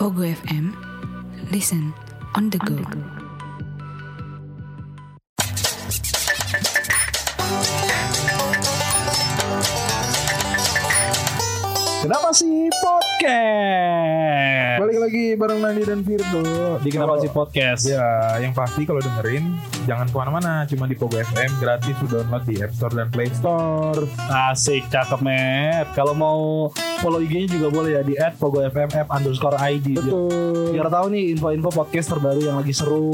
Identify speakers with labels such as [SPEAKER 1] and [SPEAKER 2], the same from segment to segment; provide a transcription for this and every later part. [SPEAKER 1] Ogo FM. Listen on the go.
[SPEAKER 2] Kenapa sih podcast?
[SPEAKER 3] Balik lagi bareng Nandi dan Virgo
[SPEAKER 2] Di Kenapa
[SPEAKER 3] Kalau-
[SPEAKER 2] sih podcast?
[SPEAKER 3] Ya, yang pasti kalau dengerin jangan kemana-mana, cuma di Pogo FM gratis lu download di App Store dan Play Store.
[SPEAKER 2] Asik, cakep net. Kalau mau follow IG-nya juga boleh ya di @pogofmf underscore
[SPEAKER 3] Iya.
[SPEAKER 2] ID.
[SPEAKER 3] Betul.
[SPEAKER 2] Biar tahu nih info-info podcast terbaru yang lagi seru.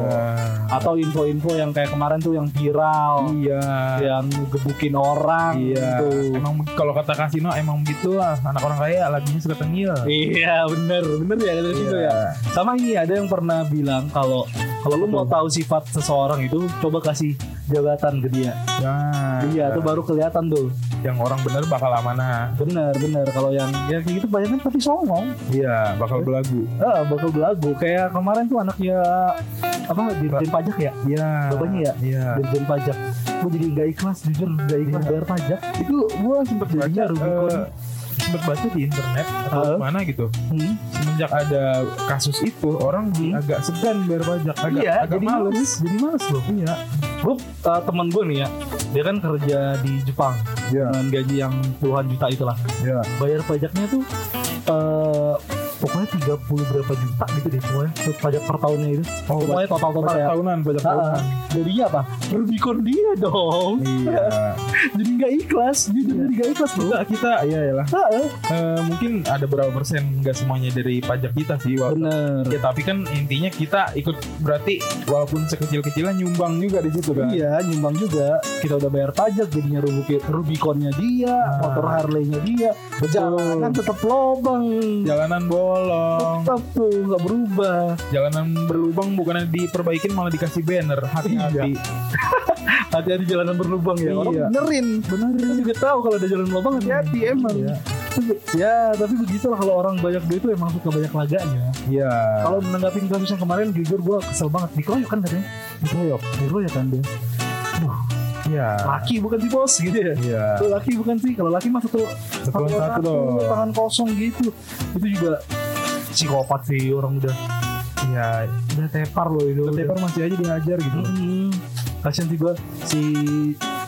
[SPEAKER 3] Nah,
[SPEAKER 2] Atau info-info yang kayak kemarin tuh yang viral,
[SPEAKER 3] iya.
[SPEAKER 2] yang gebukin orang
[SPEAKER 3] Iya.
[SPEAKER 2] gitu.
[SPEAKER 3] Emang kalau kata kasino emang begitulah anak orang kaya lagunya suka tengil.
[SPEAKER 2] Iya bener bener ya dari situ ya. Sama ini ada yang pernah bilang kalau kalau lu mau tahu sifat seseorang itu coba kasih jabatan ke dia.
[SPEAKER 3] Nah,
[SPEAKER 2] Iya itu baru kelihatan tuh.
[SPEAKER 3] yang orang bener bakal amanah.
[SPEAKER 2] Bener bener kalau yang ya kayak gitu banyaknya tapi songong.
[SPEAKER 3] Iya, bakal belagu.
[SPEAKER 2] Ah, bakal belagu kayak kemarin tuh anaknya apa dirjen pajak ya
[SPEAKER 3] Iya.
[SPEAKER 2] Bapaknya ya?
[SPEAKER 3] Iya.
[SPEAKER 2] dirjen pajak gue jadi nggak ikhlas jujur nggak ikhlas
[SPEAKER 3] Iya.
[SPEAKER 2] bayar pajak
[SPEAKER 3] Itu gua sempet baca
[SPEAKER 2] Jadinya Rubicon.
[SPEAKER 3] eh, sempet baca di internet atau
[SPEAKER 2] Heeh.
[SPEAKER 3] mana gitu.
[SPEAKER 2] hmm.
[SPEAKER 3] semenjak ada kasus itu orang jadi
[SPEAKER 2] Hmm.
[SPEAKER 3] agak segan bayar pajak agak
[SPEAKER 2] iya
[SPEAKER 3] agak
[SPEAKER 2] jadi males.
[SPEAKER 3] males
[SPEAKER 2] jadi males loh
[SPEAKER 3] iya
[SPEAKER 2] gue teman gue nih ya dia kan kerja di Jepang
[SPEAKER 3] iya
[SPEAKER 2] dengan gaji yang puluhan juta itulah
[SPEAKER 3] iya
[SPEAKER 2] bayar pajaknya tuh eh pokoknya 30 berapa juta gitu deh pokoknya pajak per tahunnya itu
[SPEAKER 3] oh
[SPEAKER 2] pokoknya total total
[SPEAKER 3] pajak
[SPEAKER 2] ya
[SPEAKER 3] tahunan pajak
[SPEAKER 2] Ah,
[SPEAKER 3] tahunan
[SPEAKER 2] jadinya apa? Rubicon dia dong.
[SPEAKER 3] iya
[SPEAKER 2] Jadi nggak ikhlas, jadi jadi Iya. nggak ikhlas loh.
[SPEAKER 3] enggak kita iya iyalah Eh, mungkin ada berapa persen enggak semuanya dari pajak kita sih walaupun
[SPEAKER 2] Bener.
[SPEAKER 3] Ya, tapi kan intinya kita ikut berarti walaupun sekecil-kecilan nyumbang juga di situ kan.
[SPEAKER 2] Iya, nyumbang juga. Kita udah bayar pajak, jadinya Rubic- Rubiconnya dia,
[SPEAKER 3] Ah.
[SPEAKER 2] motor Harley-nya dia, jalanan tetap lobang.
[SPEAKER 3] Jalanan bolong,
[SPEAKER 2] Tetap tuh nggak berubah.
[SPEAKER 3] jalanan berlubang bukan diperbaikin malah dikasih banner hati-hati.
[SPEAKER 2] Iya. Hati-hati jalanan berlubang ya. Orang
[SPEAKER 3] Iya.
[SPEAKER 2] benerin, benerin. Kita juga tahu kalau ada jalan lobang hati-hati emang.
[SPEAKER 3] Iya.
[SPEAKER 2] Ya, tapi begitulah kalau orang banyak duit tuh emang suka banyak laganya.
[SPEAKER 3] Iya.
[SPEAKER 2] Kalau menanggapi kasus yang kemarin, jujur gue kesel banget. Dikeroyok kan katanya? Dikeroyok. Dikeroyok kan dia.
[SPEAKER 3] Iya.
[SPEAKER 2] Laki bukan si bos gitu ya.
[SPEAKER 3] Iya.
[SPEAKER 2] Kalau laki bukan sih, kalau laki mah satu
[SPEAKER 3] Satu lawan satu dong.
[SPEAKER 2] tangan kosong gitu. Itu juga psikopat sih orang udah
[SPEAKER 3] Iya.
[SPEAKER 2] udah tepar loh itu.
[SPEAKER 3] Ke Tepar masih aja dihajar gitu.
[SPEAKER 2] Mm-mm. Kasian Hmm. sih gua si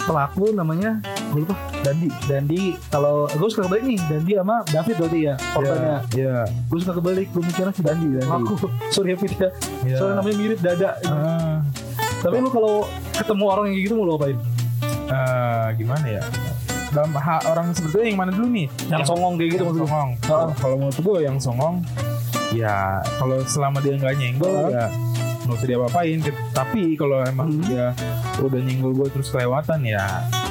[SPEAKER 2] pelaku namanya gue lupa Dandi. Dandi kalau gue suka kebalik nih Dandi sama David berarti ya korbannya.
[SPEAKER 3] Iya.
[SPEAKER 2] Gue suka kebalik, gue mikirnya si Dandi.
[SPEAKER 3] Dandi.
[SPEAKER 2] Aku sorry ya Fit ya.
[SPEAKER 3] Iya.
[SPEAKER 2] Soalnya namanya mirip dada.
[SPEAKER 3] Ah,
[SPEAKER 2] Tapi lu kalau ketemu orang yang gitu mau lu apain?
[SPEAKER 3] ah, gimana ya? Dalam hak orang sebetulnya yang mana dulu nih?
[SPEAKER 2] Yang songong kayak gitu
[SPEAKER 3] Yang
[SPEAKER 2] maksudnya.
[SPEAKER 3] songong.
[SPEAKER 2] Ah.
[SPEAKER 3] Kalau menurut gue yang songong, ya kalau selama dia nggak nyenggol
[SPEAKER 2] Ah.
[SPEAKER 3] ya nggak usah diapa-apain. Ke- Tapi kalau emang
[SPEAKER 2] Hmm.
[SPEAKER 3] dia udah nyenggol gue terus kelewatan ya,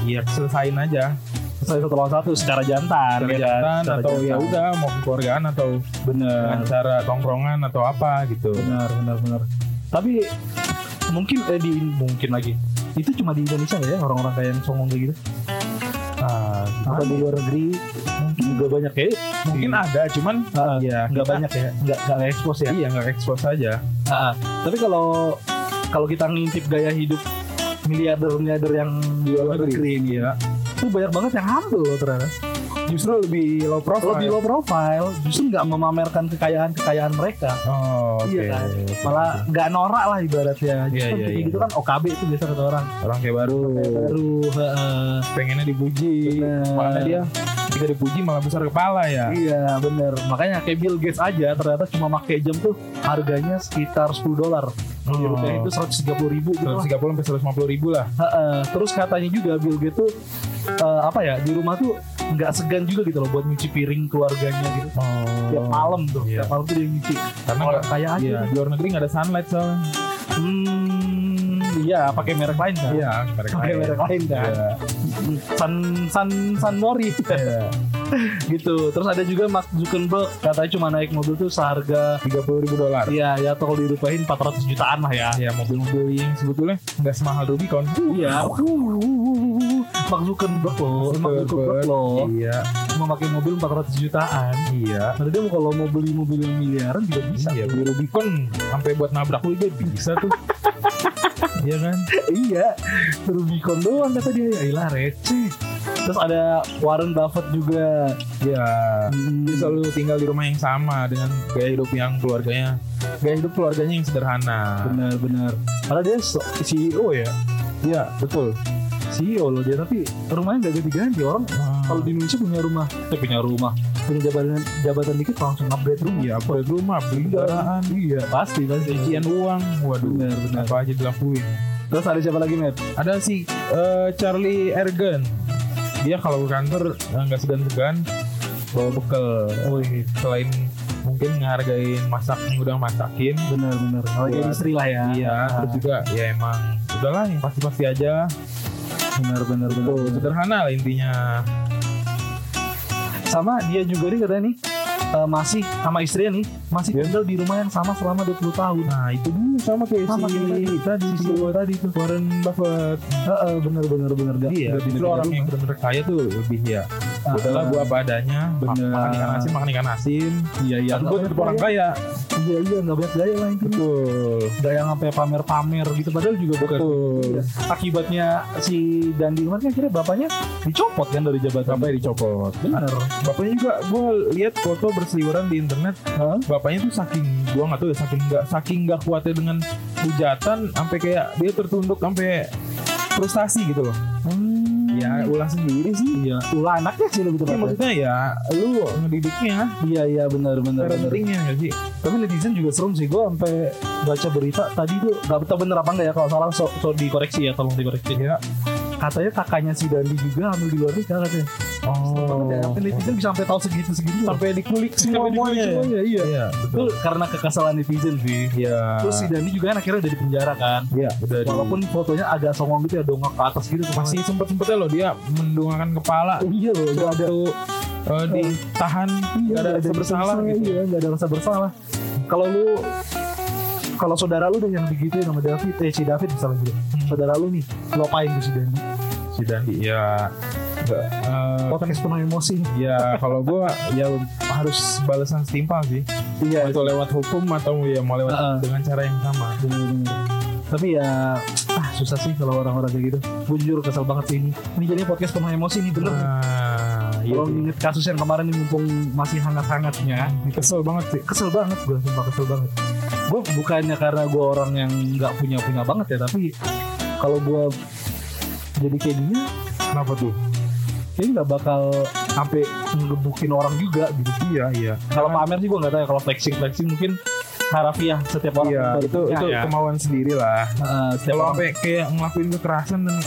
[SPEAKER 3] ya selesain aja.
[SPEAKER 2] Saya satu lawan satu secara jantan, ya kan?
[SPEAKER 3] Kerjaan
[SPEAKER 2] Secara
[SPEAKER 3] atau ya
[SPEAKER 2] jantan.
[SPEAKER 3] udah mau keluargaan atau
[SPEAKER 2] bener
[SPEAKER 3] dengan cara tongkrongan atau apa gitu.
[SPEAKER 2] benar benar benar tapi mungkin eh di mungkin lagi itu cuma di Indonesia nggak ya orang-orang kayak yang songong kayak gitu
[SPEAKER 3] Ah,
[SPEAKER 2] apa di luar negeri mungkin juga banyak ya
[SPEAKER 3] mungkin ada, cuman
[SPEAKER 2] Ah,
[SPEAKER 3] ya
[SPEAKER 2] nggak
[SPEAKER 3] kita-
[SPEAKER 2] banyak ya nggak nggak expose ya
[SPEAKER 3] Iya nggak expose aja.
[SPEAKER 2] Ah, ah. tapi kalau kalau kita ngintip gaya hidup miliarder miliarder yang di luar negeri ini ya itu banyak banget yang humble loh ternyata
[SPEAKER 3] Justru lebih low profile.
[SPEAKER 2] lebih low profile justru nggak memamerkan kekayaan kekayaan mereka
[SPEAKER 3] Oh, oke.
[SPEAKER 2] Iya kan? malah nggak norak lah ibaratnya
[SPEAKER 3] Iya,
[SPEAKER 2] Justru
[SPEAKER 3] iya,
[SPEAKER 2] kayak
[SPEAKER 3] iya.
[SPEAKER 2] gitu kan OKB itu biasa kata orang
[SPEAKER 3] orang kayak baru,
[SPEAKER 2] baru heeh.
[SPEAKER 3] pengennya
[SPEAKER 2] Iya.
[SPEAKER 3] dipuji,
[SPEAKER 2] Bener.
[SPEAKER 3] makanya dia jika dipuji malah besar kepala ya.
[SPEAKER 2] iya bener makanya kayak Bill Gates aja ternyata cuma pakai jam tuh harganya sekitar 10 dolar Di
[SPEAKER 3] Oh.
[SPEAKER 2] rupiah itu 130 ribu gitu lah
[SPEAKER 3] 130 sampai 150 ribu lah.
[SPEAKER 2] Heeh. terus katanya juga Bill Gates tuh eh, apa ya di rumah tuh nggak segan juga gitu loh buat nyuci piring keluarganya gitu tiap
[SPEAKER 3] Oh.
[SPEAKER 2] malam tuh
[SPEAKER 3] Iya.
[SPEAKER 2] tiap malam tuh dia nyuci
[SPEAKER 3] Karena
[SPEAKER 2] Orang
[SPEAKER 3] nggak-
[SPEAKER 2] kaya aja
[SPEAKER 3] Iya, di luar negeri nggak ada sunlight soalnya. Iya,
[SPEAKER 2] hmm iya pakai merek lain kan
[SPEAKER 3] Iya, mereka.
[SPEAKER 2] pakai
[SPEAKER 3] kaya.
[SPEAKER 2] merek lain kan
[SPEAKER 3] Iya.
[SPEAKER 2] San San San Mori
[SPEAKER 3] Iya.
[SPEAKER 2] gitu terus ada juga Mark Zuckerberg katanya cuma naik mobil tuh seharga
[SPEAKER 3] 30 ribu dolar.
[SPEAKER 2] Iya, ya atau kalau dirupahin 400 jutaan lah ya.
[SPEAKER 3] Ya mobil-mobil yang sebetulnya nggak semahal Rubicon.
[SPEAKER 2] Iya.
[SPEAKER 3] Uh.
[SPEAKER 2] Mark Zuckerberg
[SPEAKER 3] Oh,
[SPEAKER 2] loh, Mark Zuckerberg loh.
[SPEAKER 3] Iya,
[SPEAKER 2] Cuma pakai mobil 400 jutaan.
[SPEAKER 3] iya.
[SPEAKER 2] Padahal dia mau kalau mau beli mobil yang miliaran juga bisa.
[SPEAKER 3] Iya, beli Rubicon sampai buat nabrak lu juga bisa tuh. Iya kan?
[SPEAKER 2] iya. Rubicon doang kata dia. Ya ilah receh. Terus ada Warren Buffett juga.
[SPEAKER 3] Iya.
[SPEAKER 2] Hmm.
[SPEAKER 3] Dia selalu tinggal di rumah yang sama dengan gaya hidup yang keluarganya. Gaya hidup keluarganya yang sederhana.
[SPEAKER 2] Benar-benar. Padahal dia so- CEO ya.
[SPEAKER 3] Iya, betul.
[SPEAKER 2] CEO loh dia tapi rumahnya nggak ganti-ganti orang.
[SPEAKER 3] Hmm.
[SPEAKER 2] Kalau di Indonesia punya rumah, eh punya rumah, punya jabatan jabatan dikit langsung upgrade rumah.
[SPEAKER 3] Iya, apa rumah, beli kendaraan,
[SPEAKER 2] Iya, pasti pasti.
[SPEAKER 3] cucian uang, waduh,
[SPEAKER 2] Benar, benar.
[SPEAKER 3] apa aja dilakuin.
[SPEAKER 2] Terus ada siapa lagi, Matt?
[SPEAKER 3] Ada si eh, Charlie Ergen, dia kalau ke kantor eh, nggak segan-segan bawa bekal. Wih, selain mungkin ngehargain masak yang udah masakin,
[SPEAKER 2] Benar-benar. Lagi
[SPEAKER 3] Buat-
[SPEAKER 2] istri lah ya.
[SPEAKER 3] iya, terus juga ya emang udahlah yang pasti-pasti aja.
[SPEAKER 2] Benar-benar benar.
[SPEAKER 3] Tuh, sederhana lah intinya.
[SPEAKER 2] Sama dia juga nih katanya nih eh, masih sama istrinya nih masih tinggal di rumah yang sama selama 20 tahun.
[SPEAKER 3] Nah itu dulu Iya. sama kayak
[SPEAKER 2] Sama
[SPEAKER 3] si
[SPEAKER 2] kayak tadi, Iya.
[SPEAKER 3] tadi si tadi tuh Warren Buffett.
[SPEAKER 2] Heeh, benar-benar benar. Nggak-
[SPEAKER 3] Iya,
[SPEAKER 2] nggak
[SPEAKER 3] justru
[SPEAKER 2] pindah-pindah
[SPEAKER 3] orang yang
[SPEAKER 2] rumah.
[SPEAKER 3] benar-benar kaya tuh lebih ya.
[SPEAKER 2] Ah,
[SPEAKER 3] Udahlah gua apa adanya. mak-
[SPEAKER 2] bener.
[SPEAKER 3] Makan ikan asin, makan ikan asin.
[SPEAKER 2] Iya, iya.
[SPEAKER 3] Tapi gua
[SPEAKER 2] Nggak
[SPEAKER 3] tetap
[SPEAKER 2] banyak
[SPEAKER 3] orang
[SPEAKER 2] gaya.
[SPEAKER 3] kaya.
[SPEAKER 2] Iya, iya, nggak banyak gaya lah itu.
[SPEAKER 3] Betul.
[SPEAKER 2] Gak yang sampai pamer-pamer gitu padahal juga bukan.
[SPEAKER 3] Betul.
[SPEAKER 2] Iya. Akibatnya si Dandi kemarin kan akhirnya bapaknya dicopot kan dari jabatan.
[SPEAKER 3] Sampai dicopot.
[SPEAKER 2] Bener.
[SPEAKER 3] Bapaknya juga gue lihat foto berseliweran di internet.
[SPEAKER 2] Hah?
[SPEAKER 3] Bapaknya tuh saking gue nggak tahu ya saking nggak saking nggak kuatnya dengan hujatan sampai kayak dia tertunduk sampai frustasi gitu loh. Ya ulah sendiri sih.
[SPEAKER 2] Iya, ulah anaknya sih lebih
[SPEAKER 3] Tapi
[SPEAKER 2] tepatnya.
[SPEAKER 3] maksudnya ya lu ngedidiknya
[SPEAKER 2] Iya, iya, benar, benar. benar.
[SPEAKER 3] parentingnya nggak sih?
[SPEAKER 2] Tapi netizen juga serem sih, gue sampai baca berita tadi tuh gak tahu bener apa enggak ya kalau salah so, so dikoreksi ya, tolong dikoreksi.
[SPEAKER 3] Iya.
[SPEAKER 2] Katanya kakaknya si Dandi juga hamil di luar nikah katanya.
[SPEAKER 3] Oh.
[SPEAKER 2] Sampai netizen bisa sampai tahu segitu segitu.
[SPEAKER 3] Sampai dikulik
[SPEAKER 2] semua
[SPEAKER 3] semuanya.
[SPEAKER 2] semuanya, iya.
[SPEAKER 3] Iya.
[SPEAKER 2] Itu karena kekesalan netizen sih.
[SPEAKER 3] Iya.
[SPEAKER 2] Terus si Dandi juga kan akhirnya udah di penjara kan.
[SPEAKER 3] Iya, udah di-
[SPEAKER 2] Walaupun fotonya agak songong gitu ya dongak ke atas gitu
[SPEAKER 3] masih sempet sempetnya loh dia mendongakkan kepala
[SPEAKER 2] Oh, iya loh, gak ada
[SPEAKER 3] waktu eh, ditahan nggak ada rasa Iya, bersalah gitu.
[SPEAKER 2] Iya, gak ada rasa bersalah. Kalau lu kalau saudara lu deh yang begitu sama David, eh si David misalnya gitu.
[SPEAKER 3] Hmm.
[SPEAKER 2] Saudara lu nih, lo apain tuh si Dandi?
[SPEAKER 3] Si Dandi ya nggak, eh,
[SPEAKER 2] Podcast penuh emosi.
[SPEAKER 3] ya kalau gua ya harus balasan setimpal sih
[SPEAKER 2] Iya,
[SPEAKER 3] atau lewat hukum atau ya mau lewat
[SPEAKER 2] Heeh.
[SPEAKER 3] dengan cara yang sama
[SPEAKER 2] bener-bener. Tapi ya ah, susah sih kalau orang-orang kayak gitu. Gue jujur kesel banget sih ini. Ini jadinya podcast penuh emosi nih bener.
[SPEAKER 3] nah iya
[SPEAKER 2] Kalau
[SPEAKER 3] sih. ya,
[SPEAKER 2] inget kasus yang kemarin nih, mumpung masih hangat-hangatnya,
[SPEAKER 3] kesel banget sih
[SPEAKER 2] kesel banget gue sumpah kesel banget gue bukannya karena gue orang yang nggak punya punya banget ya tapi kalau gue jadi kayak dia
[SPEAKER 3] kenapa tuh
[SPEAKER 2] kayaknya nggak bakal sampai ngegebukin orang juga gitu
[SPEAKER 3] iya iya
[SPEAKER 2] kalau pamer sih gue nggak tahu ya kalau flexing flexing mungkin harafiah setiap orang
[SPEAKER 3] iya
[SPEAKER 2] Nah,
[SPEAKER 3] itu itu
[SPEAKER 2] ya.
[SPEAKER 3] kemauan sendiri lah
[SPEAKER 2] Nah, setiap
[SPEAKER 3] kalau
[SPEAKER 2] orang
[SPEAKER 3] sampai kayak ngelakuin kekerasan dan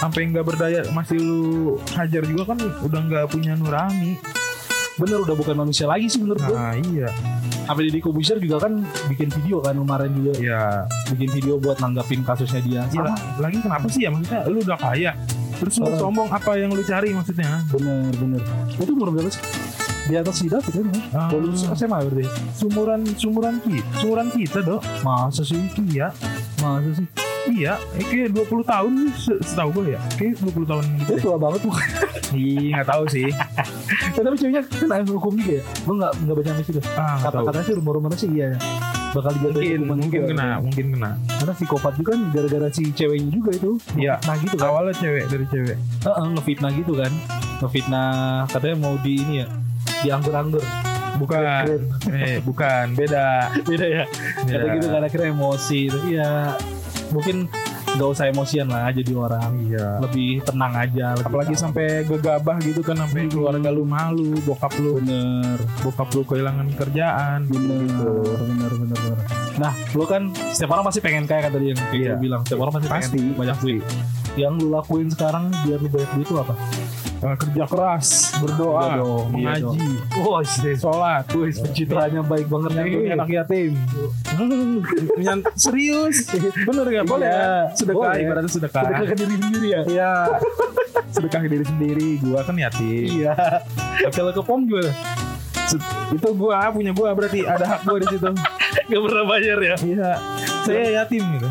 [SPEAKER 3] sampai nggak berdaya masih lu hajar juga kan udah nggak punya nurani
[SPEAKER 2] bener udah bukan manusia lagi sih menurut gue
[SPEAKER 3] nah iya
[SPEAKER 2] sampai Deddy Kobusier juga kan bikin video kan kemarin juga
[SPEAKER 3] ya
[SPEAKER 2] bikin video buat nanggapin kasusnya dia
[SPEAKER 3] ya
[SPEAKER 2] sama
[SPEAKER 3] lagi kenapa sih ya maksudnya lu udah kaya terus lu
[SPEAKER 2] Heeh.
[SPEAKER 3] sombong apa yang lu cari maksudnya
[SPEAKER 2] bener bener itu umur berapa sih di atas si David kan ya?
[SPEAKER 3] Ah.
[SPEAKER 2] Baru lulus SMA berarti
[SPEAKER 3] sumuran sumuran kita sumuran kita dok
[SPEAKER 2] Masa sih?
[SPEAKER 3] iya
[SPEAKER 2] Masa sih?
[SPEAKER 3] iya eh, kayak 20 tahun se- setahu gue ya kayak 20 tahun gitu
[SPEAKER 2] Dia
[SPEAKER 3] deh.
[SPEAKER 2] tua banget bukan?
[SPEAKER 3] Ih, nggak tahu sih
[SPEAKER 2] Ya, tapi ceweknya kan ahli hukum juga ya? Gue gak, nggak baca sampai situ.
[SPEAKER 3] ah nggak tahu
[SPEAKER 2] Kata-katanya sih rumor-rumornya sih iya ya. Bakal dijatuhin
[SPEAKER 3] mungkin
[SPEAKER 2] hukuman
[SPEAKER 3] mungkin
[SPEAKER 2] juga.
[SPEAKER 3] kena mungkin kena
[SPEAKER 2] Karena psikopat juga kan gara-gara si ceweknya juga itu.
[SPEAKER 3] Iya.
[SPEAKER 2] Nah gitu kan.
[SPEAKER 3] awalnya cewek dari cewek
[SPEAKER 2] Heeh, ngefitnah gitu kan. Ngefitnah katanya mau di ini ya. Dianggur-anggur.
[SPEAKER 3] bukan
[SPEAKER 2] Keren.
[SPEAKER 3] eh bukan beda Iya.
[SPEAKER 2] Beda ya? Kata
[SPEAKER 3] Beda. kan?
[SPEAKER 2] gitu karena akhirnya emosi. Tapi ya mungkin nggak usah emosian lah jadi orang.
[SPEAKER 3] iya
[SPEAKER 2] Lebih tenang aja. Lebih
[SPEAKER 3] apalagi
[SPEAKER 2] tenang.
[SPEAKER 3] sampai gegabah gitu kan sampai
[SPEAKER 2] Hmm.
[SPEAKER 3] keluarga lu malu bokap lu
[SPEAKER 2] bener.
[SPEAKER 3] bokap lu kehilangan kerjaan
[SPEAKER 2] Bener, bener, bener, bener. Nah, lu kan setiap orang pasti pengen kaya kan tadi yang kayak
[SPEAKER 3] Iya.
[SPEAKER 2] lu bilang. Setiap orang pasti,
[SPEAKER 3] Pasti,
[SPEAKER 2] pengen banyak duit. Yang lu lakuin sekarang biar lu banyak duit itu apa?
[SPEAKER 3] Eh, kerja keras berdoa
[SPEAKER 2] Udah dong, iya dong.
[SPEAKER 3] mengaji
[SPEAKER 2] Wah, sih.
[SPEAKER 3] sholat
[SPEAKER 2] Wih, pencitraannya baik banget
[SPEAKER 3] nyantuni
[SPEAKER 2] nih.
[SPEAKER 3] anak yatim Nyant- serius Iya. bener gak boleh
[SPEAKER 2] Iya,
[SPEAKER 3] ya? sedekah
[SPEAKER 2] boleh.
[SPEAKER 3] ibaratnya sedekah
[SPEAKER 2] Sedekah ke diri sendiri ya.
[SPEAKER 3] iya sedekah ke diri sendiri gua kan yatim
[SPEAKER 2] Iya. Kalau ke pom juga
[SPEAKER 3] Se- itu gua punya gua berarti ada hak gua di situ
[SPEAKER 2] gak pernah bayar ya.
[SPEAKER 3] iya saya yatim gitu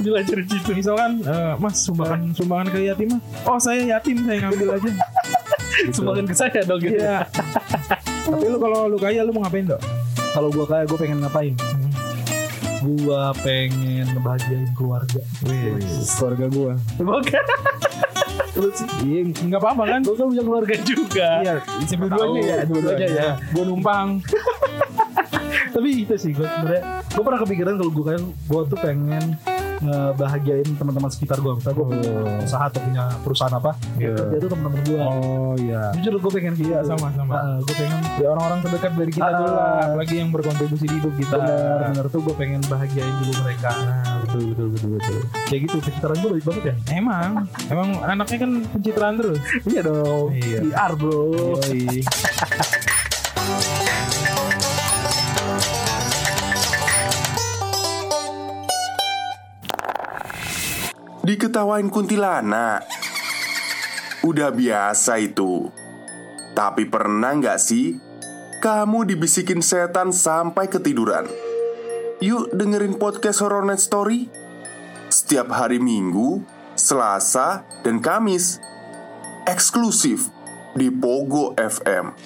[SPEAKER 2] Juga cerita itu.
[SPEAKER 3] misalkan eh, mas sumbangan sumbangan ke yatim Mas." oh saya yatim saya ngambil aja Gitu.
[SPEAKER 2] Sumbangan ke saya dong gitu.
[SPEAKER 3] Iya. Tapi lu kalau lu kaya lu mau ngapain dok?
[SPEAKER 2] Kalau gua kaya, gua pengen ngapain? Gua pengen ngebahagiain keluarga.
[SPEAKER 3] Wih, keluarga gua.
[SPEAKER 2] Oke. lu sih
[SPEAKER 3] Iya, nggak apa-apa kan?
[SPEAKER 2] gue kan punya keluarga juga
[SPEAKER 3] Iya, siapa tahu. Iya.
[SPEAKER 2] Dua-duanya ya, dua-duanya ya.
[SPEAKER 3] Gue numpang.
[SPEAKER 2] tapi itu sih gue sebenarnya gue pernah kepikiran kalau gue kayak gue tuh pengen ngebahagiain teman-teman sekitar gue misalnya gue punya
[SPEAKER 3] Oh.
[SPEAKER 2] usaha atau punya perusahaan apa
[SPEAKER 3] Iya.
[SPEAKER 2] ya itu teman-teman gue
[SPEAKER 3] Oh iya.
[SPEAKER 2] jujur gue pengen kayak
[SPEAKER 3] Iya
[SPEAKER 2] gitu.
[SPEAKER 3] sama-sama.
[SPEAKER 2] Heeh, gue pengen
[SPEAKER 3] Ya orang-orang terdekat dari kita
[SPEAKER 2] Ah.
[SPEAKER 3] dulu lah, apalagi yang berkontribusi di hidup kita.
[SPEAKER 2] benar-benar tuh gue pengen bahagiain dulu mereka
[SPEAKER 3] Nah, betul betul betul betul.
[SPEAKER 2] kayak gitu pencitraan gue baik banget ya
[SPEAKER 3] Emang, emang anaknya kan pencitraan terus.
[SPEAKER 2] iya dong
[SPEAKER 3] Iya.
[SPEAKER 2] PR bro
[SPEAKER 3] Yoi.
[SPEAKER 4] Diketawain kuntilanak Udah biasa itu Tapi pernah nggak sih Kamu dibisikin setan sampai ketiduran Yuk dengerin podcast Horror Night Story Setiap hari Minggu, Selasa, dan Kamis Eksklusif di Pogo FM